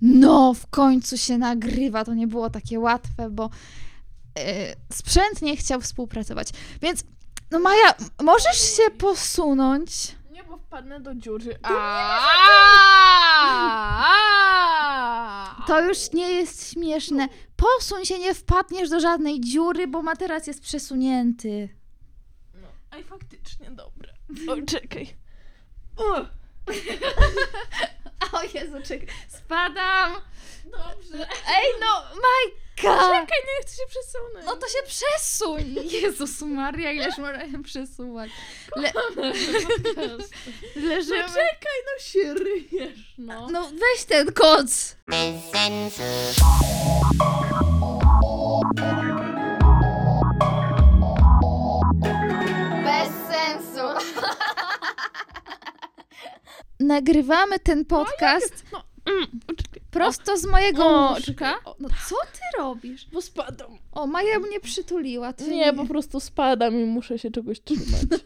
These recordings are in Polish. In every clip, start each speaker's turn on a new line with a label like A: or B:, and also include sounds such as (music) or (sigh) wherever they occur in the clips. A: no, w końcu się nagrywa. To nie było takie łatwe, bo yy, sprzęt nie chciał współpracować. Więc, no Maja, możesz się posunąć?
B: Nie, bo wpadnę do dziury.
A: To już nie jest śmieszne. Posuń się, nie wpadniesz do żadnej dziury, bo materac jest przesunięty.
B: No. Ej, faktycznie, dobra. O, czekaj. O,
A: O Jezu, czekaj, spadam!
B: dobrze.
A: Ej, no, my God!
B: Czekaj, nie chcę się przesunąć.
A: No to się przesuń! Jezus Maria, ileż można przesuwać. Le-
B: No
A: (laughs) leżymy...
B: czekaj, no się ryjesz, no.
A: No weź ten koc!
C: Bez sensu.
A: Nagrywamy ten podcast
B: No, mm, o, czekaj.
A: prosto z mojego
B: O,
A: łóżka.
B: czekaj, o,
A: No co ty robisz?
B: Bo spadam.
A: O, Maja mnie przytuliła. Ty
B: Nie, po prostu spadam i muszę się czegoś trzymać.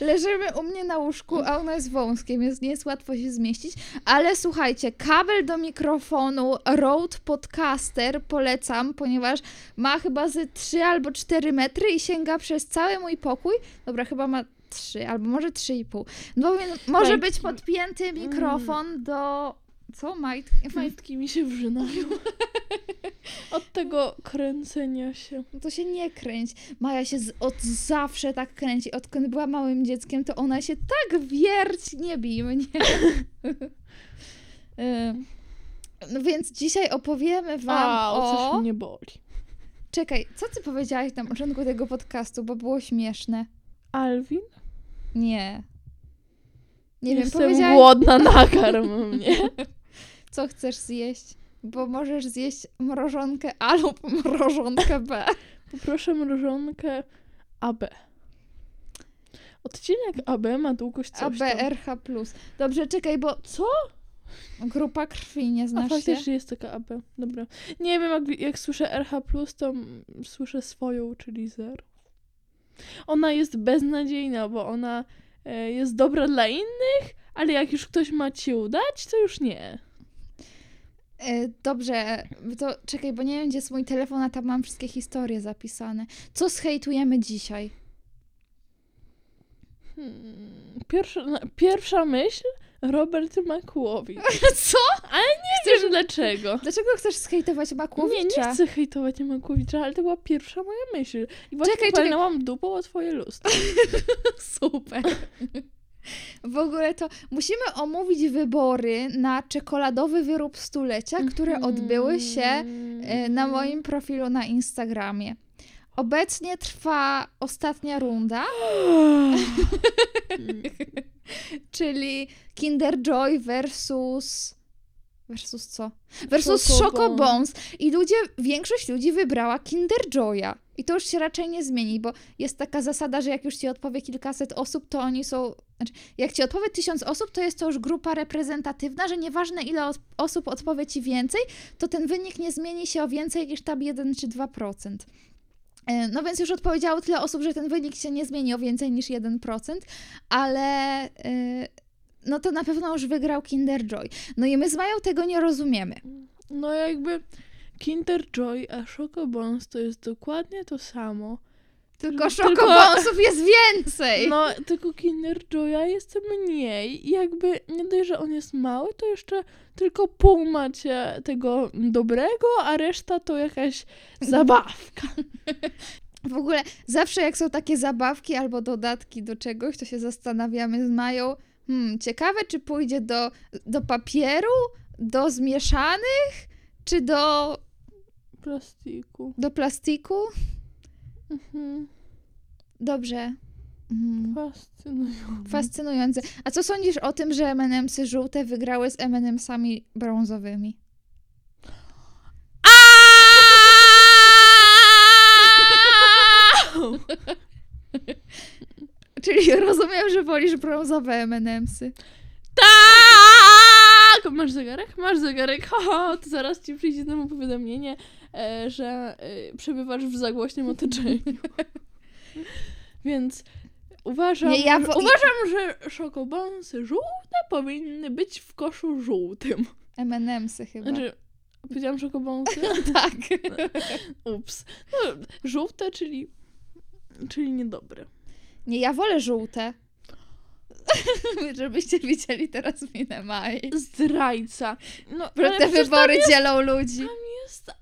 A: Leżymy u mnie na łóżku, a ona jest wąskiem, więc nie jest łatwo się zmieścić. Ale słuchajcie, kabel do mikrofonu Rode Podcaster polecam, ponieważ ma chyba ze 3 albo 4 metry i sięga przez cały mój pokój. Dobra, chyba ma 3 albo może 3,5. No więc może być podpięty mikrofon do... Co? Majtki?
B: Majtki mi się wrzynają. (laughs) Od tego kręcenia się.
A: No to się nie kręć. Maja się z, od zawsze tak kręci. Odkąd była małym dzieckiem, to ona się tak wierć, nie (laughs) bij mnie. Y, no więc dzisiaj opowiemy wam
B: A,
A: o...
B: coś mnie boli.
A: Czekaj, co ty powiedziałaś na początku tego podcastu, bo było śmieszne.
B: Alwin?
A: Nie. Nie wiem,
B: Jestem
A: powiedziałaś,
B: głodna, nakarm mnie.
A: co chcesz zjeść, bo możesz zjeść mrożonkę A lub mrożonkę B.
B: Poproszę mrożonkę AB. Odcinek AB ma długość coś tam.
A: ABRH+. Dobrze, czekaj, bo... Co? Grupa krwi, nie
B: A
A: znasz się?
B: faktycznie jest taka AB. Dobra. Nie wiem, jak, jak słyszę RH+, to mm, słyszę swoją, czyli zero. Ona jest beznadziejna, bo ona e, jest dobra dla innych, ale jak już ktoś ma ci udać, to już nie.
A: E, Dobrze, to czekaj, bo nie wiem, gdzie jest mój telefon, a tam mam wszystkie historie zapisane. Co zhejtujemy
B: (laughs)
A: dzisiaj?
B: Hmm. Pierwsza, na- pierwsza myśl Robert Makłowicz.
A: (laughs) Co?
B: Nie wiem dlaczego.
A: Dlaczego chcesz zhejtować Makłowicza?
B: Nie, nie chcę hejtować Makłowicza, ale to była pierwsza moja myśl. I właśnie
A: Czekaj,
B: czekaj,
A: czekaj.
B: palnęłam dupą o twoje lustro.
A: Super. W ogóle to musimy omówić wybory na czekoladowy wyrób stulecia, które
B: Mhm.
A: odbyły się e, na moim profilu na Instagramie. Obecnie trwa ostatnia runda, czyli Kinder Joy versus. Versus co? Versus
B: Choco
A: Choco Bones. I ludzie, większość ludzi wybrała Kinder Joya. I to już się raczej nie zmieni, bo jest taka zasada, że jak już ci odpowie kilkaset osób, to oni są. Znaczy, jak ci odpowie tysiąc osób, to jest to już grupa reprezentatywna, że nieważne ile os- osób odpowie ci więcej, to ten wynik nie zmieni się o więcej niż tam 1 czy 2%. E, No więc już odpowiedziało tyle osób, że ten wynik się nie zmieni o więcej niż 1%, ale e, no to na pewno już wygrał Kinder Joy. No i my z Mają tego nie rozumiemy.
B: (gasps) No jakby Kinder Joy, a Choco Bones to jest dokładnie to samo.
A: Tylko
B: No, Tylko-
A: szokobonsów jest więcej!
B: No, tylko Kinder Joya jest mniej i jakby nie dość, że on jest mały, to jeszcze tylko pół macie tego dobrego, a reszta to jakaś zabawka.
A: W ogóle zawsze jak są takie zabawki albo dodatki do czegoś, to się zastanawiamy z Mają, hmm, ciekawe czy pójdzie do, do papieru, do zmieszanych, czy do,
B: Plastiku.
A: do plastiku?
B: Mhm.
A: Dobrze. Mm.
B: Fascynujące.
A: Fascynujące. A co sądzisz o tym, że M&M'sy żółte wygrały z M&M'sami brązowymi? Czyli rozumiem, że wolisz brązowe M&M'sy.
B: Tak! Masz zegarek? Masz zegarek. (laughs) Ho, ho, to zaraz ci przyjdzie znowu powiadomienie, e, że e, przebywasz w zagłośnym otoczeniu. (laughs) Więc uważam,
A: Nie, ja wo-
B: uważam że szokobonsy żółte powinny być w koszu żółtym.
A: M&M'sy chyba.
B: Znaczy, powiedziałam
A: (laughs)
B: czekobąsy?
A: Tak.
B: Ups. No, żółte, czyli, czyli niedobre.
A: Nie, ja wolę żółte. (laughs) Żebyście widzieli teraz minę Mai.
B: Zdrajca. No,
A: Bo
B: ale
A: te
B: przecież
A: wybory dzielą ludzi.
B: Tam jest ten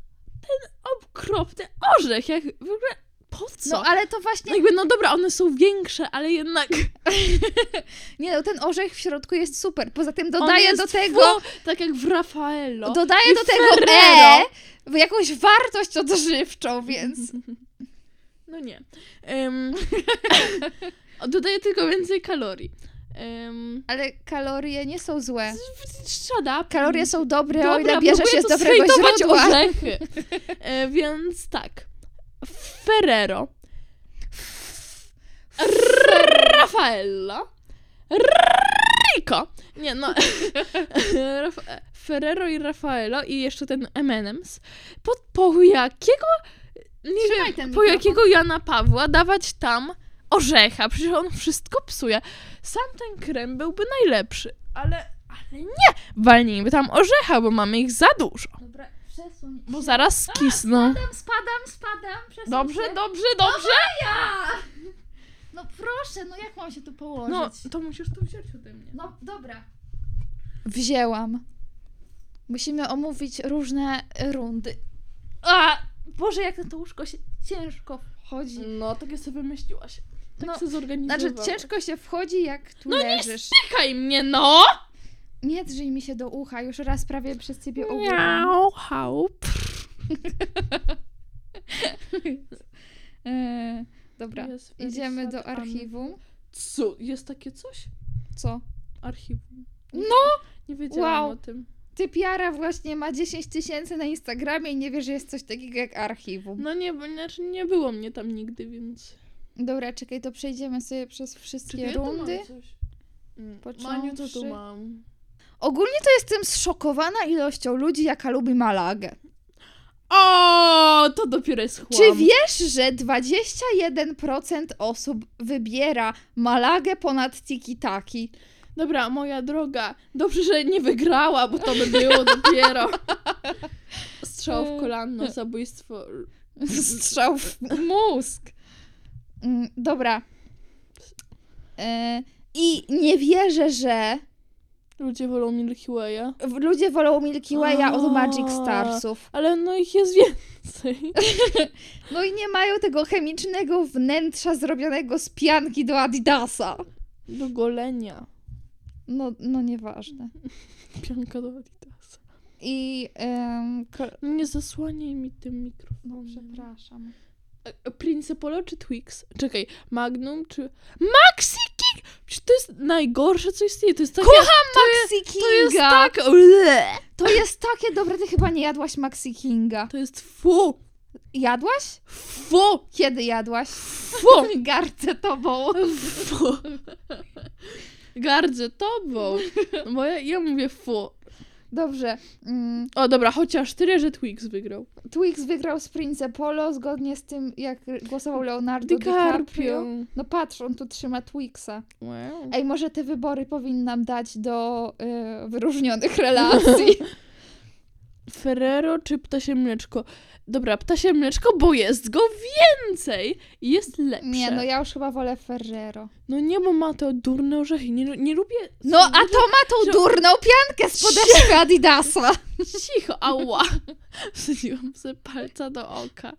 B: okropny orzech, jak w ogóle, po co?
A: No
B: No,
A: ale to właśnie...
B: jakby, no dobra, one są większe, ale jednak...
A: Nie no, ten orzech w środku jest super. Poza tym
B: on
A: dodaję
B: jest
A: do
B: fu-
A: tego...
B: tak jak w Raffaello.
A: Dodaję
B: I
A: do tego E,
B: Ferrero.
A: w jakąś wartość odżywczą, więc...
B: No nie. Ym, (laughs) dodaję tylko więcej kalorii. Um,
A: Ale kalorie nie są złe.
B: shut up.
A: Kalorie są dobre, o ile
B: Dobra,
A: tak bierze
B: próbuję
A: się z
B: tu
A: dobrego
B: zhejtować
A: źródła.
B: orzechy. E, więc tak. Ferrero. Raffaella. Rico. Nie, no. (laughs) Raf- Ferrero i Raffaello i jeszcze ten M&M's. Pod po jakiego... Nie
A: Trzymaj
B: wiem,
A: ten
B: po
A: mikrofon.
B: jakiego Jana Pawła dawać tam orzecha? Przecież on wszystko psuje. Sam ten krem byłby najlepszy. Ale, ale nie! Walnijmy tam orzecha, bo mamy ich za dużo.
A: Dobra, przesuń.
B: Bo zaraz skisną.
A: Spadam, spadam, spadam. Przesuń
B: Dobrze,
A: się.
B: dobrze, dobrze.
A: Ja! No proszę, no jak mam się tu położyć?
B: No, to musisz to wziąć ode mnie.
A: No, dobra. Wzięłam. Musimy omówić różne rundy. A, Boże, jak na to łóżko się ciężko wchodzi.
B: No, tak sobie wymyśliłaś.
A: No,
B: Tak no, sobie zorganizowałam.
A: Znaczy, ciężko się wchodzi, jak tu
B: No nie
A: leżysz.
B: Czekaj mnie, no!
A: Nie drzyj mi się do ucha, już raz prawie przez ciebie ogółem.
B: Miau, haup.
A: E, dobra, idziemy do archiwum.
B: Co? Jest takie coś?
A: Co?
B: Archiwum.
A: No!
B: Nie wiedziałam
A: Wow.
B: o tym.
A: Typiara właśnie ma 10 tysięcy na Instagramie i nie wie, że jest coś takiego jak archiwum.
B: No nie, bo znaczy nie było mnie tam nigdy, więc...
A: Dobra, czekaj, to przejdziemy sobie przez wszystkie
B: Czekaj, ja tu mam
A: rundy.
B: coś. Mm,
A: Począwszy-
B: Maniu, co tu mam?
A: Ogólnie to jestem zszokowana ilością ludzi, jaka lubi Malagę.
B: O, to dopiero jest chłam.
A: Czy wiesz, że 21% osób wybiera Malagę ponad tiki-taki?
B: Dobra, moja droga, dobrze, że nie wygrała, bo to by było (laughs) dopiero. Strzał w kolano, zabójstwo.
A: Strzał w mózg. Mm, Dobra. E, I nie wierzę, że
B: Ludzie wolą Milky Way'a.
A: w- ludzie wolą Milky Way'a od Magic
B: A.
A: Starsów.
B: Ale no ich jest więcej. (laughs)
A: No i nie mają tego chemicznego wnętrza zrobionego z pianki do Adidasa.
B: Do golenia.
A: No, no nieważne.
B: Pianka do Adidasa.
A: I. em, kol-
B: No Nie zasłaniaj mi tym
A: no,
B: mikrofonem.
A: przepraszam.
B: E, Principolo czy Twix? Czekaj, Magnum czy... Maxi King! Czy to jest najgorsze, co istnieje? To jest tak takie...
A: Maxi Kinga!
B: To jest tak... Ble!
A: takie dobre, ty chyba nie jadłaś Maxi Kinga.
B: To jest fu!
A: Jadłaś?
B: Fu!
A: Kiedy jadłaś?
B: Fu!
A: Gardzę tobą.
B: Fu. Gardzę tobą. No Bo ja, ja mówię fu.
A: Dobrze. Mm,
B: O dobra, chociaż tyle, że Twix wygrał.
A: Twix wygrał z Prince Polo zgodnie z tym, jak głosował Leonardo DiCaprio.
B: DiCaprio.
A: No patrz, on tu trzyma Twixa.
B: Wow.
A: Ej, może te wybory powinnam dać do y, wyróżnionych
B: (laughs)
A: relacji.
B: Ferrero czy ptasie mleczko? Dobra, ptasie mleczko, bo jest go więcej i jest lepsze.
A: Nie, no ja już chyba wolę Ferrero.
B: no nie, bo ma to durne orzechy. Nie, lu- nie lubię...
A: No, a to ma tą
B: że-
A: durną piankę z podeszwy Adidasa.
B: (laughs) Cicho, ała. Wsadziłam sobie palca do oka.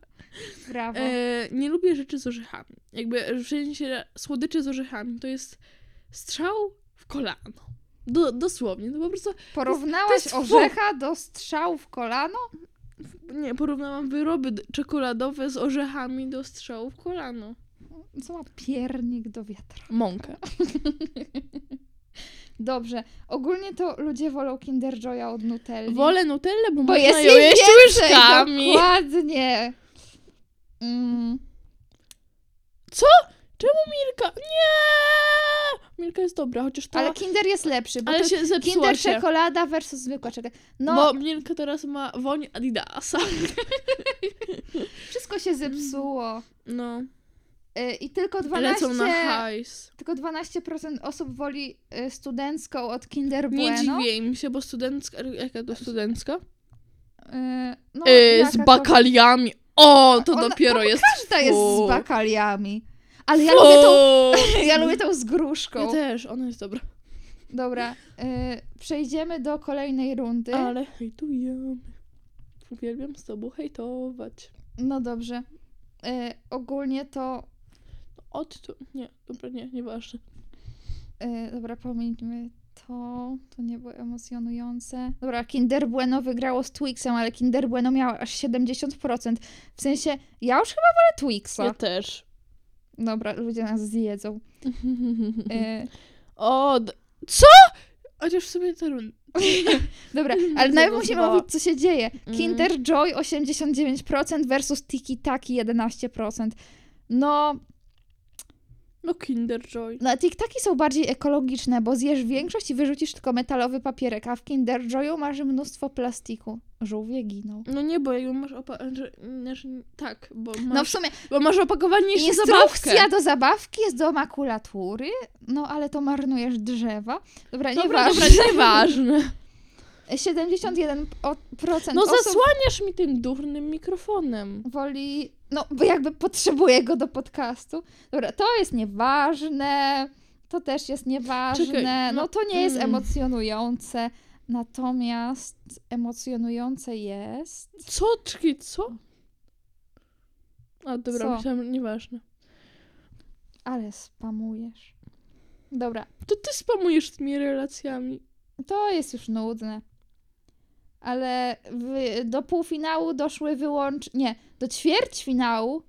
A: Brawo.
B: E, nie lubię rzeczy z orzechami. Jakby w sensie słodyczy z orzechami to jest strzał w kolano. Do, dosłownie, to po prostu to
A: Porównałaś
B: jest fu.
A: orzecha do strzału w kolano?
B: nie porównałam wyroby d- czekoladowe z orzechami do strzału w kolano.
A: Co ma piernik do wiatra?
B: Mąkę.
A: Dobrze. Ogólnie to ludzie wolą Kinder Joya od Nutelli.
B: Wolę Nutellę, bo,
A: bo
B: można
A: jest
B: ją
A: jej
B: jeść
A: więcej,
B: łyżkami.
A: dokładnie. Mm,
B: Milka, nie! Milka jest dobra, chociaż ta...
A: ale
B: Ale,
A: Kinder jest lepszy, bo to
B: się zepsuła
A: Kinder
B: się.
A: czekolada versus zwykła czekolada. No,
B: Bo Milka teraz ma woń Adidasa.
A: wszystko się zepsuło.
B: No.
A: Y, I tylko
B: Lecą na
A: 12,
B: hajs.
A: tylko 12% osób woli y, studencką od Kinder
B: Nie
A: Bueno.
B: dziwię im się, bo studencka, jaka to studencka?
A: Y, no,
B: Yy, z
A: jaka
B: bakaliami. O, to
A: Ona-
B: dopiero jest
A: To każda jest
B: Fu.
A: z bakaliami. Ale ja lubię, tą,
B: Fu.
A: (laughs) ja lubię tą z
B: Ja
A: gruszką.
B: też, ona jest dobra.
A: Dobra, y, przejdziemy do kolejnej rundy.
B: Ale hejtujemy. Uwielbiam z tobą hejtować.
A: No dobrze. Y, ogólnie to.
B: Od tu... Nie, dobra, nie, nieważne.
A: y, dobra, pomijmy to. To nie było emocjonujące. Dobra, Kinder Bueno wygrało z Twixem, ale Kinder Bueno miało aż 70%. W sensie, ja już chyba wolę
B: Ja
A: Twixa.
B: też. (laughs)
A: Dobra, ludzie nas zjedzą.
B: (laughs)
A: Y,
B: o, d- co? Chociaż sobie to run...
A: dobra,
B: Mm,
A: ale najpierw musimy
B: zagłosowała.
A: mówić, co się dzieje.
B: Mm.
A: Kinder Joy 89% versus Tiki Taki 11%. No,
B: No Kinder Joy.
A: No, tiktaki są bardziej ekologiczne, bo zjesz większość i wyrzucisz tylko metalowy papierek, a w Kinder Joyu masz mnóstwo plastiku. Żółwie giną.
B: No nie, bo jakby masz opa... Że, znaczy, tak, bo masz,
A: No w sumie
B: bo masz opakowanie niż
A: instrukcja
B: zabawkę.
A: do zabawki jest do makulatury, no ale to marnujesz drzewa. Dobra,
B: Dobra,
A: nieważne.
B: dobra,
A: (laughs)
B: nieważne.
A: 71% o- procent
B: No
A: osób
B: zasłaniasz mi tym durnym mikrofonem.
A: woli, no bo jakby potrzebuje go do podcastu. Dobra, to jest nieważne, to też jest nieważne,
B: Czekaj, no-
A: no to nie jest
B: mm.
A: emocjonujące, natomiast emocjonujące jest...
B: Co? Czekaj, co? A dobra,
A: Co?
B: myślałam, nieważne.
A: Ale spamujesz. Dobra,
B: To ty spamujesz tymi relacjami.
A: to jest już nudne. Ale wy- do półfinału doszły wyłącz... Nie, do ćwierćfinału...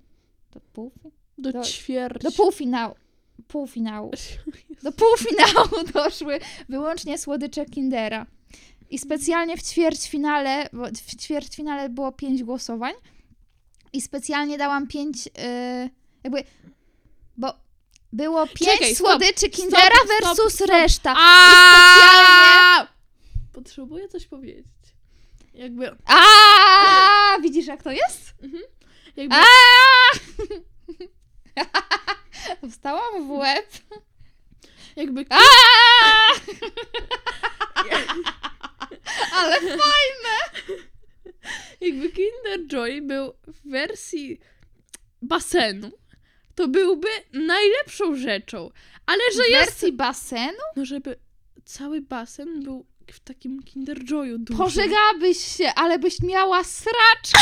A: Do, półfi-
B: Do,
A: Do-
B: ćwierć.
A: do półfinału. Półfinału. Do półfinału (laughs) doszły wyłącznie słodycze Kindera. I specjalnie w ćwierćfinale, bo w ćwierćfinale było pięć głosowań i specjalnie dałam pięć, yy, jakby, bo było pięć
B: Czekaj, stop,
A: słodyczy Kindera
B: stop,
A: versus
B: stop.
A: reszta.
B: A! Potrzebuję coś powiedzieć. Jakby...
A: A, widzisz jak to jest?
B: jakby
A: (laughs) Wstałam w łeb.
B: jakby
A: A! (laughs) Ale
B: Jakby Kinder Joy był w wersji basenu, to byłby najlepszą rzeczą. Ale że
A: w
B: jest.
A: wersji basenu?
B: No, żeby cały basen był w takim Kinder Joyu dużym.
A: Pożegałabyś Mhm. się, ale byś miała sra...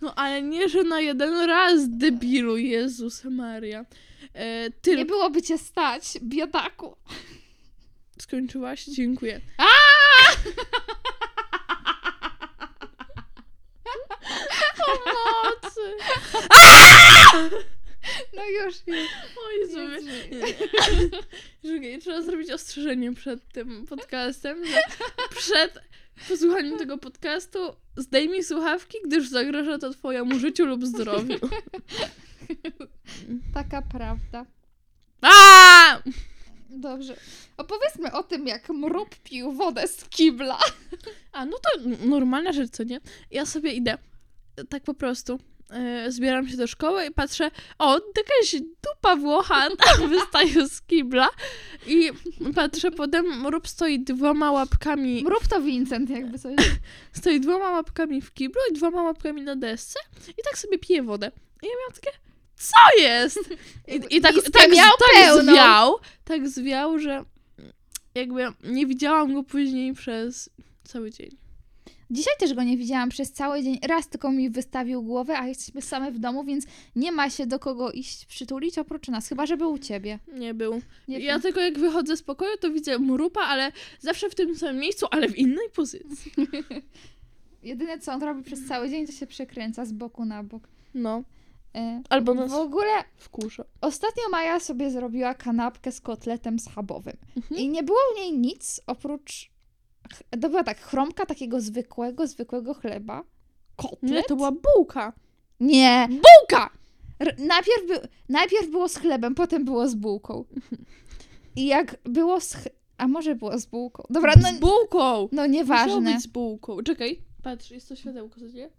B: No, ale nie, że na jeden raz, debilu, Jezus Maria. E,
A: Nie
B: tylko.
A: byłoby cię stać, biedaku.
B: Skończyłaś? Dziękuję. (laughs) Pomocy!
A: No już, (laughs) już.
B: Oj, Jezu, Czekaj, trzeba zrobić ostrzeżenie przed tym podcastem, że przed posłuchaniem tego podcastu zdejmij słuchawki, gdyż zagraża to twojemu życiu lub zdrowiu.
A: Taka prawda.
B: A!
A: Dobrze. Opowiedzmy o tym, jak mrób pił wodę z (laughs) kibla.
B: A, no to normalna rzecz, co nie? Ja sobie idę, tak po prostu, e, zbieram się do szkoły i patrzę, o, jakaś dupa Włocha (laughs) tam wystaje z kibla i patrzę, potem mrób stoi dwoma łapkami
A: Mrób to Vincent, jakby coś.
B: stoi dwoma łapkami w kiblu i dwoma łapkami na desce i tak sobie pije wodę. I ja miałam takie, co jest? I, i tak,
A: Miskę
B: tak,
A: miał
B: tak
A: pełną.
B: zwiał, tak zwiał, że jakby nie widziałam go później przez cały dzień.
A: Dzisiaj też go nie widziałam przez cały dzień. Raz tylko mi wystawił głowę, a jesteśmy same w domu, więc nie ma się do kogo iść przytulić oprócz nas, chyba żeby u ciebie.
B: Nie był.
A: Nie
B: Ja
A: wiem.
B: tylko jak wychodzę z pokoju, to widzę mrupa, ale zawsze w tym samym miejscu, ale w innej pozycji.
A: Jedyne co on robi przez cały dzień, to się przekręca z boku na bok.
B: No,
A: E,
B: albo nas
A: w ogóle
B: wkurza.
A: Ostatnio Maja sobie zrobiła kanapkę z kotletem schabowym.
B: Mhm.
A: I nie było w niej nic oprócz. ch- To była tak chromka takiego zwykłego, zwykłego chleba. Kotlet?
B: Nie, to była bułka.
A: Nie.
B: Bułka!
A: R- najpierw, by... najpierw było z chlebem, potem było z bułką. I jak było z. ch- A może było z bułką? Dobra, no,
B: Z bułką!
A: no
B: Musiało
A: nieważne.
B: być z bułką. Czekaj, patrz, jest to światełko, co nie?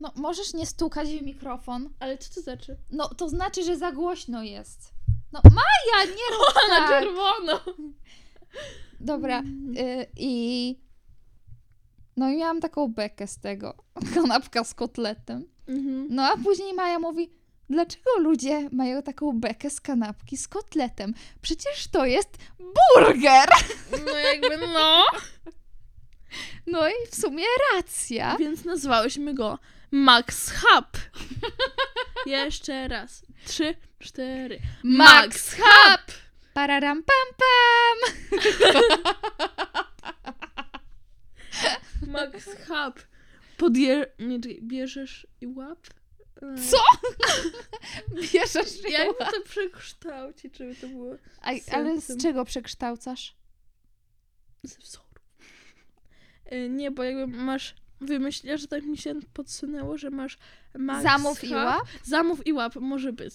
A: No, możesz nie stukać w mikrofon.
B: Ale co to znaczy? (laughs)
A: No, to znaczy, że za głośno jest. No, Maja, nie rób
B: Na
A: tak!
B: czerwono!
A: Dobra, y, i... No i miałam taką bekę z tego. (laughs) Kanapka z kotletem.
B: Mhm.
A: No a później Maja mówi, dlaczego ludzie mają taką bekę z kanapki z kotletem? Przecież to jest burger!
B: No jakby no.
A: No i w sumie racja.
B: Więc nazwałyśmy go Max Hub. (laughs) Jeszcze raz. Trzy, cztery. Max
A: Hub! Pararam pam pam!
B: Max Hub. Podje... Nie, czekaj, bierzesz i łap? E,
A: Co? Bierzesz ją.
B: Jak to przekształcić, żeby to było
A: A,
B: z
A: ale
B: sercem?
A: z czego przekształcasz?
B: ze wzoru? E, Nie, bo jakby masz... Wymyślasz, że tak mi się podsunęło, że masz Max
A: Zamów
B: Hub.
A: i łap?
B: Zamów i łap, może być.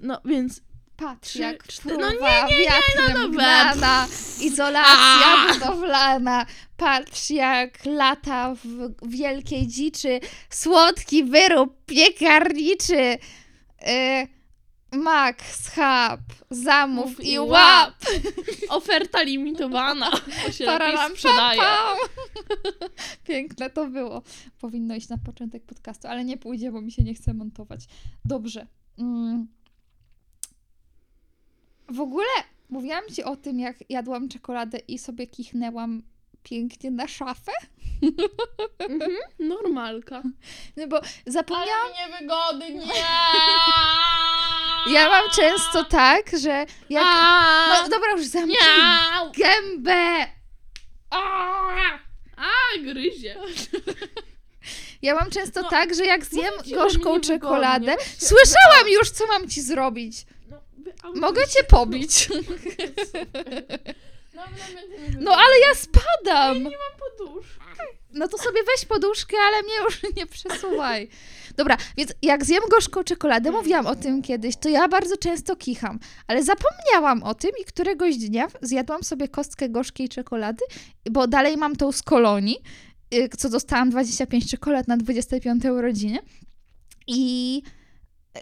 B: No, więc
A: Patrz,
B: Trzy,
A: jak
B: cztery-
A: próba
B: no
A: nie, nie, wiatrem
B: no dobra.
A: gnana, izolacja
B: A!
A: budowlana. Patrz, jak lata w wielkiej dziczy, słodki wyrób piekarniczy. Yy, Max, hub, zamów
B: Mów
A: i, łap.
B: (laughs) Oferta limitowana. To się
A: Pararam,
B: lepiej
A: pam,
B: sprzedaje.
A: pam. (laughs) Piękne to było. Powinno iść na początek podcastu, ale nie pójdzie, bo mi się nie chce montować. Dobrze. Mm. W ogóle mówiłam ci o tym, jak jadłam czekoladę i sobie kichnęłam pięknie na szafę,
B: Mhm, normalka.
A: no bo zapomniałam
B: niewygodnie.
A: Ja mam często tak, że jak... No dobra, już zamknij
B: Miau!
A: gębę!
B: A, gryzie.
A: Ja mam często
B: No,
A: tak, że jak zjem
B: mówię ci, że mi
A: gorzką
B: niewygodnie.
A: czekoladę...
B: Weź się-
A: Słyszałam już, co mam ci zrobić!
B: No, wy- a wy-
A: Mogę
B: (laughs)
A: cię pobić.
B: No, no, będzie mi
A: No ale ja spadam.
B: podusz.
A: No to sobie weź poduszkę, ale mnie już (laughs) nie przesuwaj. Dobra, więc jak zjem gorzką czekoladę, mówiłam o tym kiedyś, to ja bardzo często kicham, ale zapomniałam o tym i któregoś dnia zjadłam sobie kostkę gorzkiej czekolady, bo dalej mam tą z kolonii, y, co dostałam 25 czekolad na 25 urodziny. I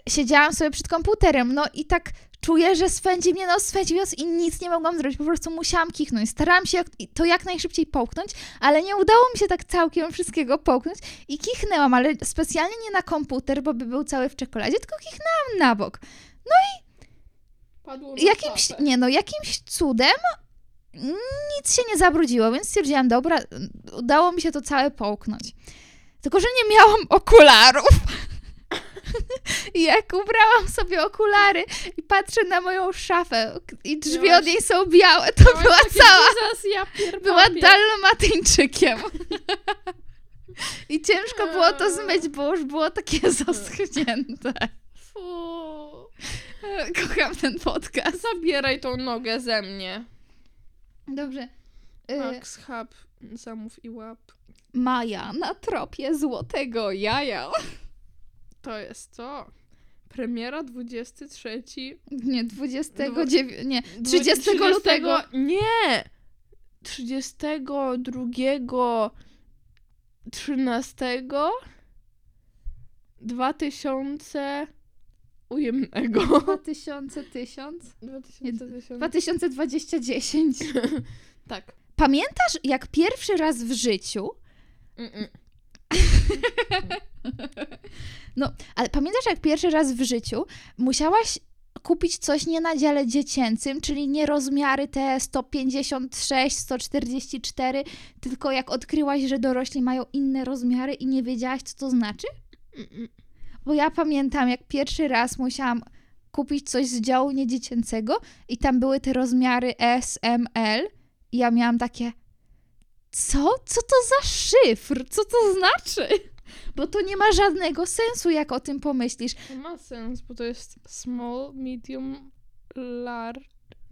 A: siedziałam sobie przed komputerem, no i tak czuję, że swędzi mnie nos, swędzi mnie nos i nic nie mogłam zrobić, po prostu musiałam kichnąć. Starałam się jak- to jak najszybciej połknąć, ale nie udało mi się tak całkiem wszystkiego połknąć i kichnęłam, ale specjalnie nie na komputer, bo by był cały w czekoladzie, tylko kichnęłam na bok.
B: Padło
A: Jakimś, nie no, jakimś cudem nic się nie zabrudziło, więc stwierdziłam, dobra, udało mi się to całe połknąć. Tylko, że nie miałam okularów. (laughs) I jak ubrałam sobie okulary i patrzę na moją szafę i drzwi
B: Miałaś-
A: od niej są białe, to (laughs) była cała
B: Zaraz No, ja pier-
A: była
B: papier.
A: dalmatyńczykiem. I ciężko było to zmyć, bo już było takie zaschnięte.
B: Fu.
A: Kocham ten podcast.
B: Zabieraj tą nogę ze mnie.
A: Dobrze. Y,
B: Max Hub, zamów i łap.
A: Maja na tropie złotego jaja.
B: To jest to. Premiera 23.
A: Nie, 29, nie, 30,
B: 30 (laughs)
A: lutego.
B: No Nie! 32 13 2000 ujemnego.
A: 2000, 1000,
B: 2000.
A: 2020, 10.
B: (laughs) Tak.
A: Pamiętasz, jak pierwszy raz w życiu
B: Mm-mm.
A: Ale pamiętasz, jak pierwszy raz w życiu musiałaś kupić coś nie na dziale dziecięcym, czyli nie rozmiary te 156, 144, tylko jak odkryłaś, że dorośli mają inne rozmiary i nie wiedziałaś, co to znaczy?
B: Mm-mm.
A: Bo ja pamiętam, jak pierwszy raz musiałam kupić coś z działu niedziecięcego i tam były te rozmiary S, M, L i ja miałam takie co? Co to za szyfr? Co to znaczy? Bo to nie ma żadnego sensu, jak o tym pomyślisz.
B: To ma sens, bo to jest small, medium, large.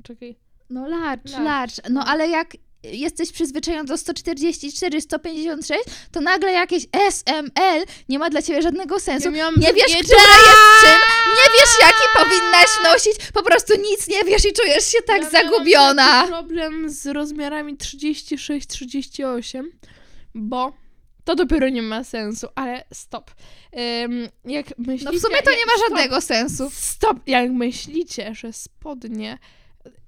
B: Czekaj.
A: No large, large,
B: Large,
A: No ale jak jesteś przyzwyczajony do 144, 156, to nagle jakieś SML nie ma dla ciebie żadnego sensu.
B: miałam
A: Nie wiesz,
B: wiedzieć-
A: która jest czym, nie wiesz, jaki powinnaś nosić, po prostu nic nie wiesz i czujesz się tak
B: Ja miałam
A: zagubiona.
B: taki problem z rozmiarami 36-38, bo To dopiero nie ma sensu, ale stop. Ym, jak myślicie,
A: No w sumie to
B: jak-
A: nie ma
B: stop,
A: żadnego sensu.
B: Stop! Jak myślicie, że spodnie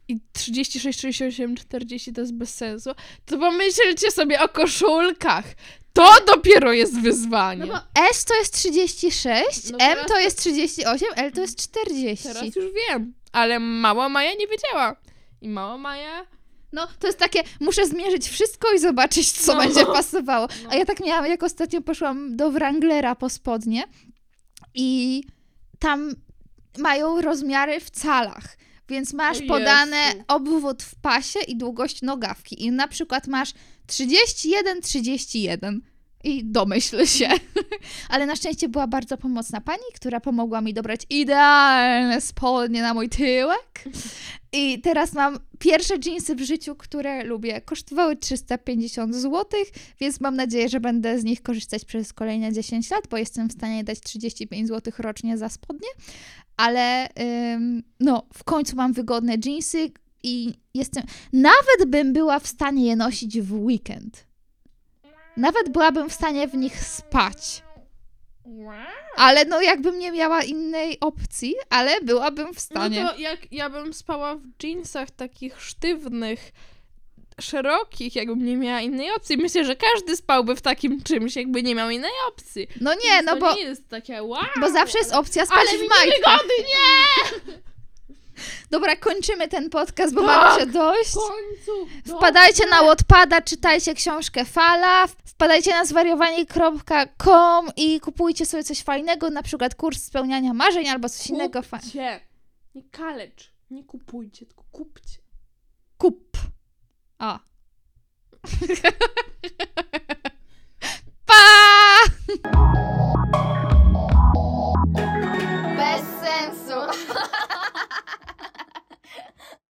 B: i 36, 38, 40 to jest bez sensu, to pomyślcie sobie o koszulkach. To dopiero jest wyzwanie.
A: No bo S to jest 36, M
B: No teraz
A: to jest 38, L to jest 40.
B: Teraz już wiem, ale mała Maja nie wiedziała. I mała Maja...
A: No, to jest takie, muszę zmierzyć wszystko i zobaczyć, co
B: No.
A: będzie pasowało.
B: No.
A: A ja tak miałam, jak ostatnio poszłam do Wranglera po spodnie i tam mają rozmiary w calach. Więc masz
B: O
A: podane
B: Jezu.
A: obwód w pasie i długość nogawki. I na przykład masz 31, 31. I domyśl się. (laughs) Ale na szczęście była bardzo pomocna pani, która pomogła mi dobrać idealne spodnie na mój tyłek. I teraz mam pierwsze jeansy w życiu, które lubię. Kosztowały 350 zł, więc mam nadzieję, że będę z nich korzystać przez kolejne 10 lat, bo jestem w stanie dać 35 zł rocznie za spodnie. Ale ym, no, w końcu mam wygodne jeansy i jestem. Nawet bym była w stanie je nosić w weekend. Nawet byłabym w stanie w nich spać. Ale no, jakbym nie miała innej opcji, ale byłabym w stanie.
B: No to jak ja bym spała w jeansach takich sztywnych, szerokich, jakbym nie miała innej opcji. Myślę, że każdy spałby w takim czymś, jakby nie miał innej opcji.
A: No nie,
B: Więc
A: no
B: to
A: bo.
B: nie jest takie wow.
A: Bo zawsze jest opcja spać
B: ale mi
A: w majtkach.
B: niewygodnie!
A: Dobra, kończymy ten podcast, bo
B: Tak!
A: mam się dość.
B: W końcu! no,
A: Wpadajcie na Wattpada, czytajcie książkę Fala, wpadajcie na zwariowanie.com i kupujcie sobie coś fajnego, na przykład kurs spełniania marzeń albo coś innego fajnego.
B: Kupcie! Nie kalecz. Nie
A: (laughs)
B: kupujcie, tylko kupcie.
A: Kup. A.